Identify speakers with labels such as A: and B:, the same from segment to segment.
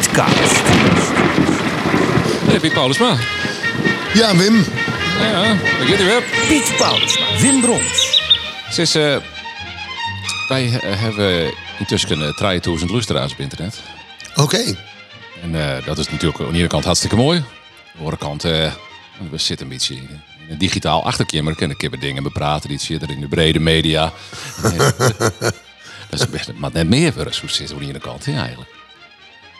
A: Beatcast.
B: Hey, Piet Paulusma.
C: Ja, Wim.
B: Nou ja, ik weet het wel.
A: Piet Paulusma, Wim Brons.
B: Sinds eh, wij eh, hebben intussen eh, 3000 luisteraars op internet.
C: Oké.
B: En eh, dat is natuurlijk aan de ene kant hartstikke mooi. Aan de andere kant, eh, we zitten een beetje in in een digitaal achterkamer. We kunnen kippen dingen bepraten, iets zitten in de brede media. En, eh, dat is best, maar net meer voor ons. Hoe zitten we aan de ene kant hè, eigenlijk?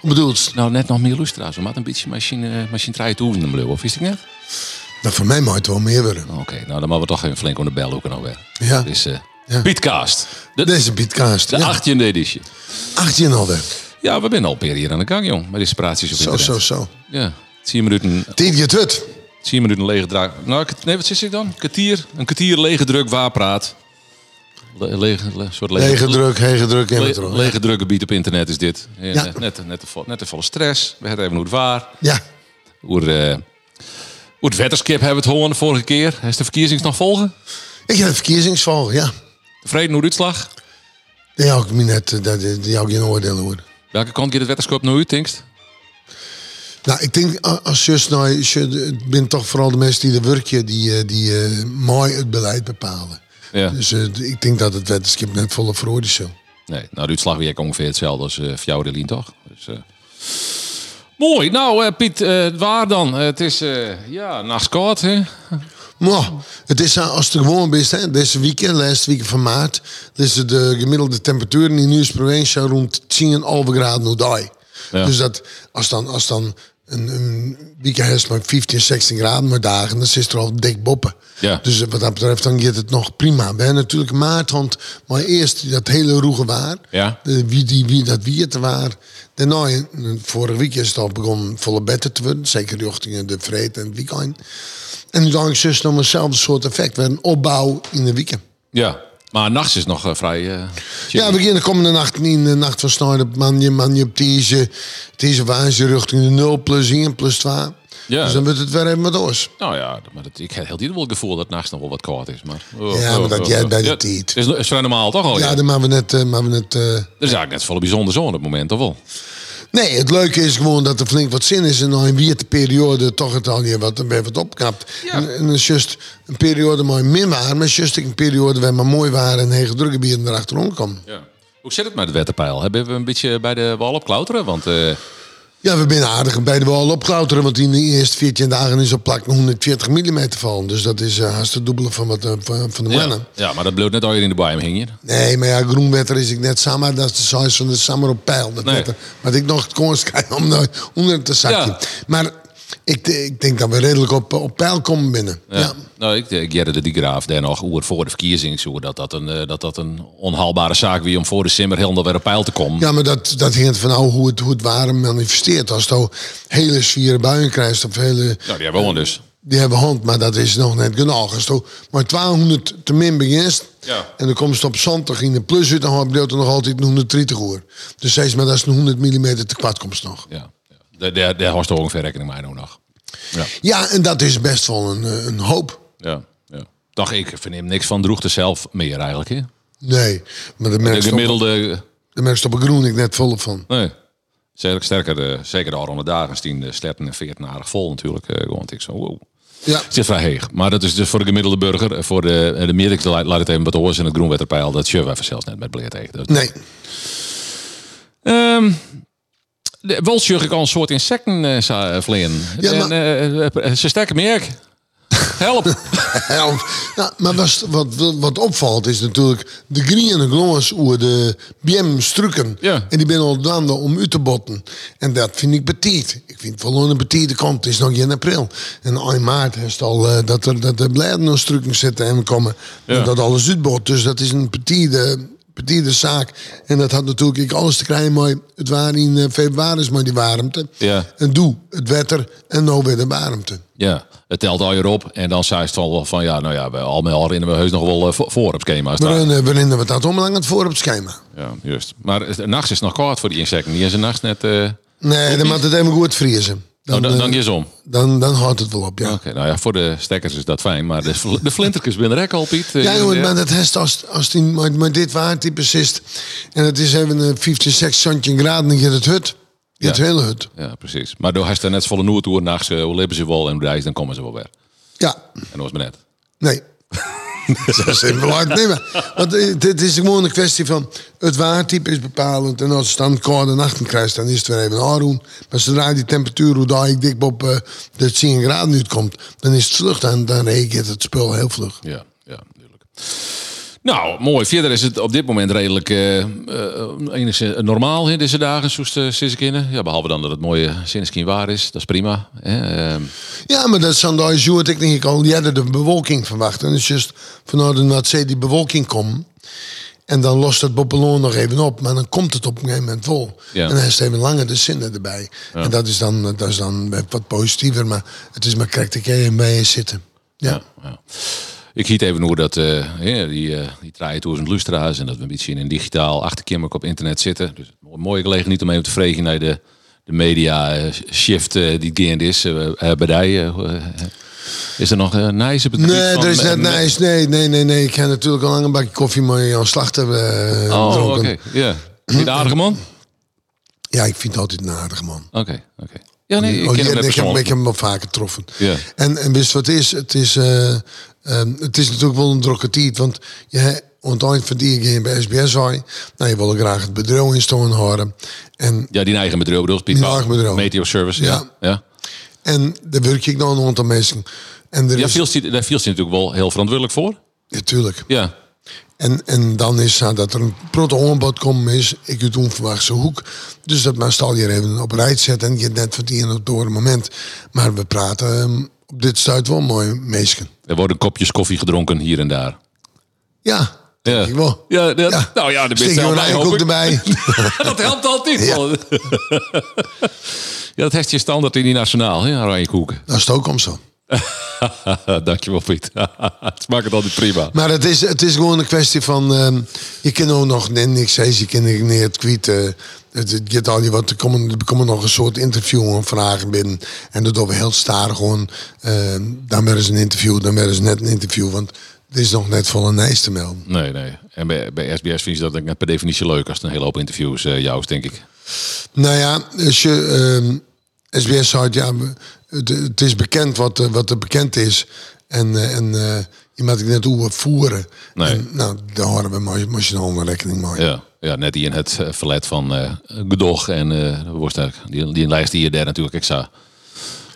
C: Wat bedoelt?
B: Nou, net nog meer luisteraars. We moeten een beetje machine, eh, machine 3000 blauw, of is het net?
C: Nou, voor mij mag het wel meer worden.
B: Oké, nou dan mogen we toch even flink onder de bel hoeken alweer.
C: Ja.
B: Dus eh
C: Ja.
B: Pietcast, de,
C: Deze Beatcast.
B: de
C: Ja,
B: 18e editie.
C: 18 alweer.
B: Ja, we zijn al een periode hier aan de gang, jong. Met inspiraties op
C: Zo,
B: internet.
C: zo, zo.
B: Ja, 10 minuten,
C: Tien keer tut.
B: 10 minuten lege draak. Nou, ik- nee, wat zit ik dan? Kwartier, een kwartier lege druk waarpraat. Le, lege, le- soort lege,
C: Hege druk, hege druk in
B: le-
C: het erop.
B: lege druk gebied op internet is dit. Ja,
C: Ja.
B: Net, net, net, te vol- net te volle stress. We hebben even hoe het waar.
C: Ja.
B: Hoe, eh, hoe het wetterskip hebben we het horen de vorige keer. Is de verkiezings nog volgen?
C: Ik heb verkiezingsval, ja.
B: Tevreden hoe de uitslag?
C: Die hou ik me net, eh, dat- die hou ik geen oordeel over.
B: Welke kant gaat het wetterskip naar u, denkst?
C: Nou, ik denk a- als zus, nou, als je- het zijn toch vooral de mensen die de werkje, die, eh, die eh, mooi het beleid bepalen.
B: Ja.
C: Dus eh, ik denk dat het wetenschap net volle fraude is. joh.
B: Nee, nou, de uitslag werkt ongeveer hetzelfde als eh voor jou, Relien, toch? Dus, eh, Mooi, nou eh, Piet, eh, waar dan? Eh, het is, eh, ja, nachts koud, hè?
C: Maar het is eh, als het gewoon bent, hè, deze weekend, laatste weekend van maart, is de gemiddelde temperatuur in nieuws provincie rond 10,5 graden nu die.
B: Ja.
C: Dus dat, als dan, als dan een, een weekend is met 15, 16 graden maar dagen, dan zit er al dik boppen.
B: Ja.
C: Dus eh, wat dat betreft, dan gaat het nog prima. We hebben natuurlijk maart, want maar eerst dat hele roege waar.
B: Ja.
C: Eh, wie, die, wie dat wie het waar. Daarna, eh, vorige week is het al begonnen volle beter te worden. Zeker richting de vreed en het weekend. En nu dacht ik zus nog hetzelfde soort effect. Weer een opbouw in de weekend.
B: Ja, maar nachts is nog eh, vrij... eh, chill.
C: Ja, we beginnen komende nacht in de nacht van snijden. Manje, manje op deze, deze waanzin richting de 0 plus 1 plus 2.
B: Ja.
C: Dus dan wordt het weer even wat oors.
B: Nou ja, maar dat, ik heb heel die wel het gevoel dat het nachts nog wel wat koud is. Maar, Oh,
C: Ja, maar dat jij bij de tijd.
B: Het is, is vrij normaal, toch? Al, Oh ja,
C: Ja, dan maken we net... eh, maken we net eh,
B: Er is eigenlijk net volle bijzonder zon op het moment, toch wel?
C: Nee, het leuke is gewoon dat er flink wat zin is. En dan in wierte periode toch het al hier wat, weer wat opkapt.
B: Ja.
C: En, en dan is just een periode mooi min waar. Maar just een periode waar maar mooi waren en hege drukke bieren erachteraan komen.
B: Ja. Hoe zit het met het wetterpeil? Hebben we een beetje bij de wal op klauteren? Want eh,
C: Ja, we zijn aardig bij de wal opklauteren. Want in de eerste 14 dagen is op plak 140 mm vallen. Dus dat is eh, haast het dubbele van, wat, eh, van, van de
B: ja,
C: mannen.
B: ja, maar dat bleef net al je in de bij hing je.
C: Nee, maar ja, groenwetter is ik net samen. Dat is de size van de summer op pijl. Dat
B: Nee.
C: wetter. Maar ik nog het konst krijg om nou onder het zakje.
B: Ja.
C: Maar ik, ik denk dat we redelijk op, op pijl komen binnen. Ja.
B: Ja. Nou, ik, ik jerde de graaf daar nog oer voor de verkiezingen zo dat dat een, eh, dat dat een onhaalbare zaak wie om voor de simmer helemaal weer op peil te komen.
C: Ja, maar dat, dat hint van nou, hoe het, hoe het ware manifesteert. Als je hele zware buien krijgt of hele...
B: Nou, die hebben we dus.
C: Die hebben hand, maar dat is nog net genoeg. Als je maar 1200 te min begint...
B: Ja.
C: en dan komt ze op zondag in de plus uit... dan heb je nog altijd een 130 uur. Dus steeds maar dat is een 100 mm te kwart komt nog.
B: Ja. ja. Daar- Daar daar was toch ongeveer rekening mee nou nog. Ja.
C: Ja, en dat is best wel een, eh, een hoop.
B: Ja. ja. Dacht ik, verneem niks van droegte zelf meer eigenlijk. Hè?
C: Nee, maar de
B: De
C: merk op,
B: gemiddelde.
C: de merk op groen ik net vol van.
B: Nee. Zeker, sterker, eh, zeker de ronde dagen, tien eh, sletten en veertien aardig vol natuurlijk. eh, Gewoon ik zo. Wow.
C: Ja,
B: Het zit vrij heeg. Maar dat is dus voor de gemiddelde burger, eh, voor de, eh, de meerdere, laat laat het even wat horen in het groenwetterpeil. Dat je we even zelfs net met bleert tegen. Dus- Dat-
C: nee.
B: Ehm de- wel zag ik al een soort insecten eh, za- eh, vliegen.
C: Ja,
B: En,
C: maar-
B: eh, eh, ze sterke merk. Help.
C: Help. Nou, maar wat, wat, wat opvalt is natuurlijk de groene jongens oer de BM-strukken.
B: Ja.
C: En die ben al gaande om u te botten. En dat vind ik petit. Ik vind het wel een petite kant. Het is nog in april. En in maart is het al eh, dat er, dat er blijven nog strukken zitten en komen.
B: Ja.
C: En dat alles uitbot. Dus dat is een petite, petite zaak. En dat had natuurlijk ik alles te krijgen. Maar het waren in eh, februari is maar die warmte.
B: Ja.
C: En doe het wetter en nou weer de warmte.
B: ja, het telt al je op. En dan zei ze het al wel van, ja, nou ja, we al met al herinneren we heus nog wel eh, vo- voor op het schema.
C: Maar
B: staan.
C: eh, we herinneren we dat omlang het voor op het schema.
B: Ja, juist. Maar eh, nachts is het nog koud voor die insecten. Die is er nachts net... eh
C: Nee, dan moet het even goed vriezen.
B: oh, dan,
C: eh,
B: dan je ze om.
C: dan, dan houdt het wel op, ja.
B: Oké, nou ja, voor de stekkers is dat fijn. Maar de, fl- de flinterkens binnen rek al, Piet. Eh,
C: Ja, jongen, maar dat heeft als, als die, maar, maar dit waar, die persist. En het is even een 50, 60 graden in het hut. Ja. Het hele hut.
B: Ja, precies. Maar door hij staat net volle noer toe, nachts, eh, hoe leven ze wel en reis, dan komen ze wel weer.
C: Ja,
B: En dat was maar net.
C: nee. Zo simpel uit. Nee, maar want, eh, dit is gewoon een kwestie van het watertype is bepalend. En als het dan koude nachten krijgt, dan is het weer even aardoen. Maar zodra die temperatuur, hoe daar ik dik op eh, de 10 graden uitkomt, dan is het vlug. Dan, dan reageert het spul heel vlug.
B: Ja, ja, natuurlijk. Nou, mooi. Verder is het op dit moment redelijk eh, eh, enigszins normaal in deze dagen, eh, zoals de Sissekinnen. Ja, behalve dan dat het mooie Sinneskin waar is. Dat is prima. hè. Ehm,
C: Ja, maar dat is aan de Azure ik al. Die hadden de bewolking verwacht. En het is juist vanuit een wat zee die bewolking komt. En dan lost het Boppeloon nog even op. Maar dan komt het op een gegeven moment vol.
B: Ja.
C: En dan is het even langer de zinnen erbij. En dat is, dan, dat is dan wat positiever. Maar het is maar kijk, de keer bij je zitten. Ja.
B: ja. ja. Ik hiet even hoe dat eh, ja, die, eh die 3000 lustra's en dat we een beetje in een digitaal achterkamer op internet zitten. Dus een mooie gelegenheid om even te vregen naar de, de media eh, shift eh, die gaande is. eh, eh, bij die, eh, hoe, eh, is er nog eh nice op het gebied
C: Nee,
B: van-
C: er is net
B: eh,
C: nice. Nee, nee, nee, nee. Ik ga natuurlijk al lang een bakje koffie met Jan Slachter eh
B: Oh, oké.
C: dronken.
B: Ja. Vind je het een aardige man?
C: Ja, ik vind het altijd een aardige man.
B: Oké, oké. Ja, nee, ik
C: Oh,
B: ken hem
C: ja,
B: net
C: ik, heb, ik
B: persoonlijk.
C: heb hem wel vaker getroffen.
B: Ja.
C: En, en wist je wat het is? Het is, eh, ehm, het is natuurlijk wel een drokkertiet. Want je ontdekt van die keer bij SBS hoor. Nou, je wil graag het bedrijf in stonden horen. En,
B: Ja, die eigen bedrijf bedoelt, Piet
C: Mijn
B: Pauw.
C: eigen bedrijf.
B: Meteo Service, ja. ja.
C: en daar werk ik dan een aantal mensen. En er
B: ja
C: is,
B: viel die- daar viel hij natuurlijk wel heel verantwoordelijk voor.
C: natuurlijk.
B: Ja,
C: En, en dan is het dat er een proto-aanbod komt is, ik uit onverwachtse hoek. Dus dat maar stal je even op rij zetten en je net verdienen op het door moment. Maar we praten ehm, op dit stuit wel mooi mensen.
B: er worden kopjes koffie gedronken hier en daar.
C: Ja,
B: Ja,
C: denk ik wel.
B: ja, dat- nou ja, de
C: Stik
B: beste
C: je een
B: hoop
C: ook
B: ik.
C: erbij.
B: dat helpt altijd wel. ja, dat heeft je standaard in die nationaal, hè, Oranje Koeken. Ah,
C: Dat Nou, is het ook om zo.
B: Dankjewel, Piet. het smaakt het altijd prima.
C: Maar het is, het is gewoon een kwestie van... ehm, je kan ook nog nee, niks zeggen, je kan niet nee, het kwiet. eh, het, het gaat al je wat, er, komen, er komen nog een soort interview en vragen binnen. En dat doen we heel staar gewoon. ehm, dan weer eens een interview, dan weer eens net een interview. Want het is nog net vol een ijs te melden.
B: Nee, nee. En bij, bij SBS vind je dat net per definitie leuk als het een hele hoop interviews eh jou is, denk ik.
C: Nou ja, als je ehm, SBS houdt, ja, we- het, het is bekend wat, eh, wat er bekend is. En, eh, en eh, je moet het net hoe voeren.
B: Nee.
C: En, nou, daar horen we mooi- moest je nog onder rekening mee.
B: Ja, ja net die in het eh, verlet van eh Gedog en eh worst eigenlijk. Die, die lijst hier daar natuurlijk extra.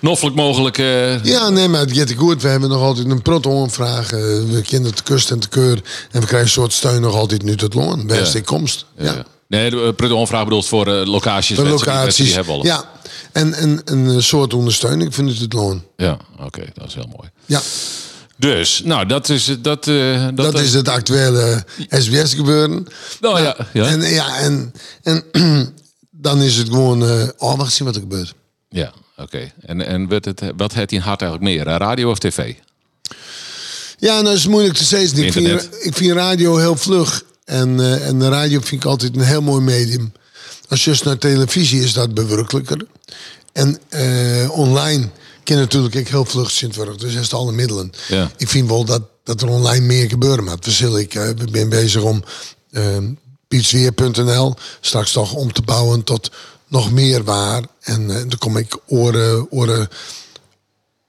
B: Noffelijk mogelijk. eh,
C: Ja, nee, maar het gaat goed. We hebben nog altijd een proto-aanvraag. eh, we kinderen te kust en te keur. En we krijgen een soort steun nog altijd nu tot loon. Best
B: Ja.
C: in komst.
B: ja.
C: Ja.
B: Nee, de eh, vraag bedoeld voor eh, locaties.
C: De
B: mensen die- mensen
C: locaties.
B: Die hebben al.
C: ja. En, en, en een soort ondersteuning vanuit het loon.
B: ja Oké, dat is heel mooi.
C: Ja,
B: Dus, nou, dat is... eh, Dat, eh, dat,
C: dat
B: eh,
C: is het actuele SBS-gebeuren.
B: Nou ja, ja.
C: En, ja, en, en dan is het gewoon... eh oh, wacht zien wat er gebeurt.
B: Ja, oké. En, en werd het, wat heeft in hart eigenlijk meer? eh, Radio of tv?
C: Ja, nou is het moeilijk te zeggen. Ik vind,
B: Internet.
C: ik vind radio heel vlug. En, eh, en de radio vind ik altijd een heel mooi medium. Als je eens naar televisie is dat bewerkelijker. En eh, online ken natuurlijk ik heel vlug Sintwerk. Dus dat is alle middelen.
B: Ja.
C: Ik vind wel dat, dat er online meer gebeuren moet. We, zullen, ik, eh, we ben bezig om eh, pietsweer.nl straks toch om te bouwen tot nog meer waar. En eh, dan kom ik oren, oren,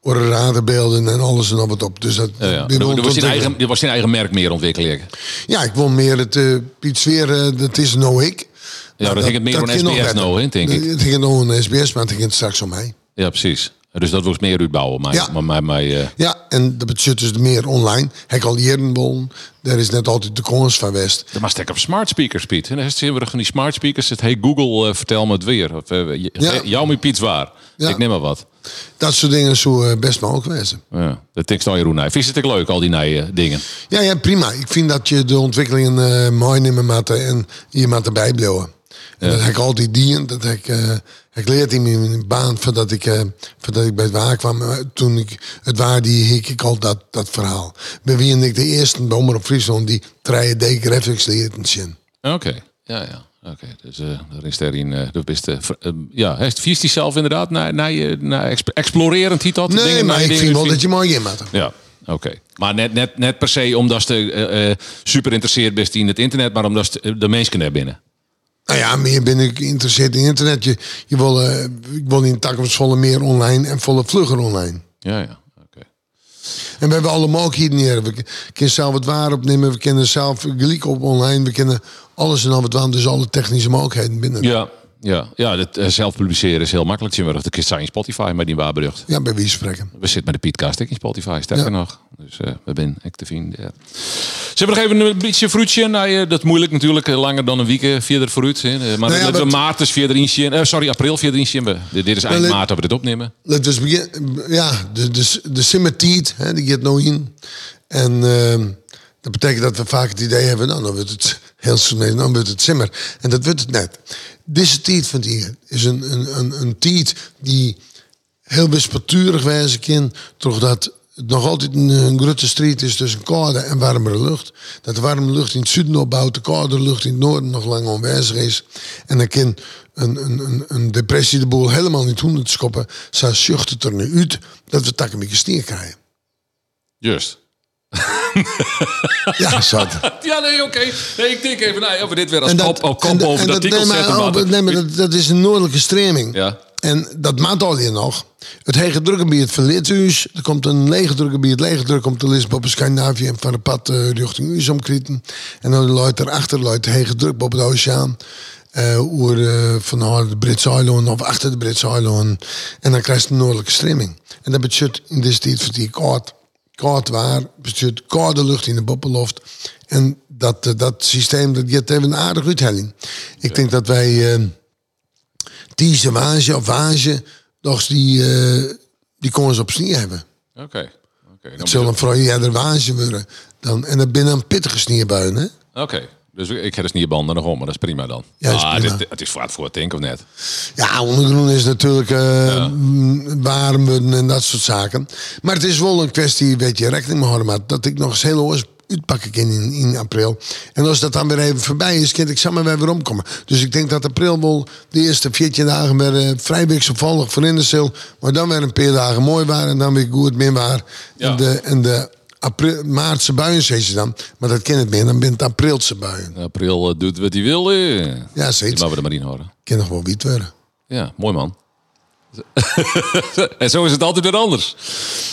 C: oren radenbeelden en alles en nog wat op. Dus dat,
B: Ja, ja.
C: die
B: Er, er was
C: wil ik
B: geen
C: ontdekken.
B: eigen, er was geen eigen merk meer ontwikkelen. ik.
C: Ja, ik wil meer het eh Piet Sweer, eh, dat is nou ik.
B: Ja, dat ging het meer om
C: kan nog
B: SBS
C: beter.
B: nou, hè, denk ik.
C: Het ging nog een SBS, maar het ging straks om mij.
B: Ja, precies. Dus dat was meer uitbouwen. Maar,
C: Ja.
B: maar, maar, maar, eh,
C: Ja, en dat betekent dus meer online. Hek al Jerenbon, daar is net altijd de kongens van West.
B: Dan maar stek op smart speakers, Piet. En dan is het van die smart speakers. Het, hey Google, eh, vertel me het weer. Of, eh, je-
C: Ja.
B: eh, Jou met Piet waar.
C: Ja.
B: Ik neem maar wat.
C: Dat soort dingen zo eh, best mogelijk wezen.
B: Ja, dat denk ik nou Jeroen. Vind je het ook leuk, al die nije dingen?
C: Ja, ja, prima. Ik vind dat je de ontwikkelingen eh, mooi nemen moet en je moet erbij blijven. En dat heb ik altijd dien. Dat heb ik, eh, ik leerd in mijn baan voordat ik, eh, voordat ik bij het waar kwam. Eh, Toen ik het waar die hik ik al dat, dat verhaal. Ben wie en ik de eerste bomer op Friesland die 3D graphics leert zien.
B: Oké. Ja, ja. Oké. Dus eh daar is daarin eh de beste. ver- eh, ja, hij vies die zelf inderdaad. Naar, naar, je- naar exp- explorerend hiet dat.
C: Nee,
B: dingen,
C: maar
B: nije
C: ik
B: dingen
C: vind wel
B: zien.
C: dat je mooi in moet.
B: Ja, oké. Maar net, net, net per eh, se omdat ze eh, eh, super interesseerd bent in het internet, maar omdat ze de mensen naar binnen.
C: Nou ja, meer ben ik geïnteresseerd in internet. Je, je wil, eh, ik wil in takkenwas volle meer online en volle vlugger online.
B: Ja, ja. Oké.
C: En we hebben allemaal ook hier neer. We k- kunnen zelf het waar opnemen. We kennen zelf gelijk op online. We kennen alles en al wat waar. Dus alle technische mogelijkheden binnen. Ja,
B: Ja, ja, ja dat, eh, zelf publiceren is heel makkelijk. Jimmer, de kist zijn in Spotify, maar die waarberucht.
C: bij wie spreken.
B: We zitten met de Pietcast ik in Spotify, sterker
C: Ja.
B: nog. Dus eh, we zijn ik te vinden. Ja. Ze hebben nog even een beetje fruitje. Nou, ja, dat is moeilijk natuurlijk, eh, langer dan een week eh, verder vooruit. Hè. Eh, Maar
C: Nou ja,
B: dat we
C: dat-
B: maart is verder in zien. Eh, sorry, april verder in zien. We- Dit dit is eind
C: Nou, dit-
B: maart dat we dit opnemen.
C: Dat was begin, ja, de, de, de sympathiet, hè, die gaat nou in. En ehm, dat betekent dat we vaak het idee hebben, nou, dan wordt het heel snel, dan wordt het simmer. En dat wordt het net. Deze tiet van hier is een, een, een, een tiet die heel wispelturig wijze kan, toch dat het nog altijd een, een grote strijd is tussen koude en warmere lucht. Dat de warme lucht in het zuiden opbouwt, de koude lucht in het noorden nog lang onwijzig is. En dan kan een, een, een, een depressie de boel helemaal niet honderd schoppen. Zo zucht het er nu uit dat we takken een beetje stier krijgen.
B: Juist.
C: Ja, zat.
B: Ja, nee, oké. Nee, ik denk even nou, of we dit weer als
C: En
B: kop op
C: en
B: kop
C: dat-
B: over
C: en
B: dat
C: dat-
B: artikel
C: nee, maar
B: zetten. maar
C: over- Nee, maar dat, dat is een noordelijke stroming.
B: Ja.
C: En dat maakt al je nog. Het hege drukgebied van Lithuus. Er komt een lege drukgebied. Lege druk komt de Lisbon, Scandinavië en van de pad eh, richting Uus omkrieten. En dan luidt erachter luidt de hege druk boven de oceaan. eh oer eh, van haar de Britse eilanden of achter de Britse eilanden. En dan krijg je de noordelijke stremming. En dat betekent in deze tijd voor die koud. Koud waar, bestuurt koude lucht in de boppenloft. En dat, eh, dat systeem, dat geeft even een aardige uithelling. Ik denk dat wij... eh, Tiese Waage of Waage, dacht die, eh, die kon ze op sneeuw hebben.
B: Oké. Oké, dan
C: Het zullen vooral eerder Waage worden. Dan, en dat binnen een pittige sneeuwbuien, hè?
B: Oké, dus ik heb dus niet banden nog om, maar dat is prima dan.
C: Ja, is
B: ah,
C: prima.
B: Dit, het is voor het voor het denk of net.
C: Ja, ondergroen is natuurlijk eh m, warm worden en dat soort zaken. Maar het is wel een kwestie, weet je, rekening mee houden, maat, dat ik nog eens heel oors uitpakken kan in, in april. En als dat dan weer even voorbij is, kan ik samen weer weer omkomen. Dus ik denk dat april wel de eerste 14 dagen weer eh, vrij wisselvallig voor in de sale, maar dan weer een paar dagen mooi waren en dan weer goed min waar.
B: Ja.
C: En de, en de april, maartse buien, zei ze dan. Maar dat ken het meer, dan bent het aprilse buien.
B: April eh, doet wat hij wil. eh.
C: Ja,
B: Die
C: zoiets.
B: mogen we er maar in horen.
C: Kan nog wel wiet worden.
B: Ja, mooi man. en zo is het altijd weer anders.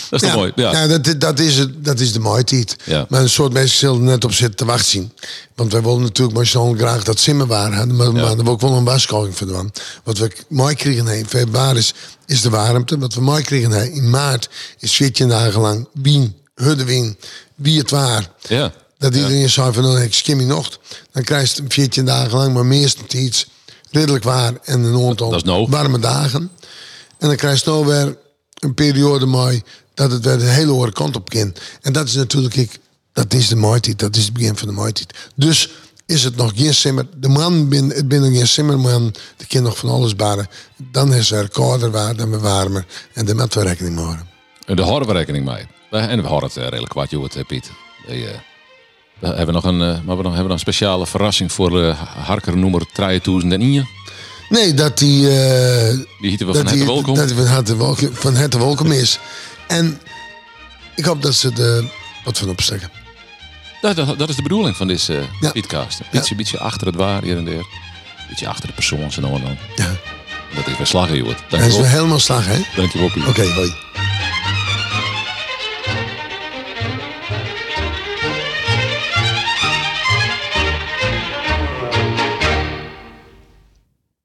B: Dat is toch mooi? Ja.
C: dat, dat, is het, dat is de mooie tijd.
B: Ja.
C: Maar een soort mensen zullen er net op zitten te wachten zien. Want wij wilden natuurlijk maar zo graag dat simmen waren. Maar, maar er was ook wel een waarschuwing voor gedaan. Wat we k- mooi kregen in februari is, is de warmte. Wat we mooi kregen hè, in maart is 14 dagen lang wien, huddewien, wie het waar.
B: ja.
C: Dat iedereen zei van, dan ik skim je nog. Dan krijg je 14 dagen lang, maar meestal iets redelijk waar en een aantal
B: Dat is nou.
C: warme dagen. En dan krijg je nou weer een periode mooi dat het weer de hele andere kant op kan. En dat is natuurlijk, ik, dat is de mooitijd, dat is het begin van de mooitijd. Dus is het nog geen simmer, de man bin, het binnen geen simmerman, de kind nog van alles baren. Dan is er kouder waar, dan weer warmer en daar moeten we rekening mee houden.
B: En daar houden we rekening mee. En we houden het eh, redelijk kwaad, Joert, eh, Piet. Wij, eh, we hebben nog een, eh, maar we nog- hebben nog een speciale verrassing voor eh Harker nummer 3001.
C: Nee, dat die... eh,
B: Die hieten we van harte
C: hij-
B: welkom.
C: Dat hij van harte welkom, van harte welkom is. En ik hoop dat ze er wat van opstrekken.
B: Dat, dat, dat is de bedoeling van deze eh,
C: Ja.
B: podcast. Een beetje, beetje achter het waar hier en daar. Een beetje achter de persoon, zo nou en dan.
C: Ja.
B: Dat is weer slagen, Joert.
C: En ze
B: Dankjewel.
C: helemaal slagen, hè? Oké,
B: Dankjewel, Piet.
C: hoi.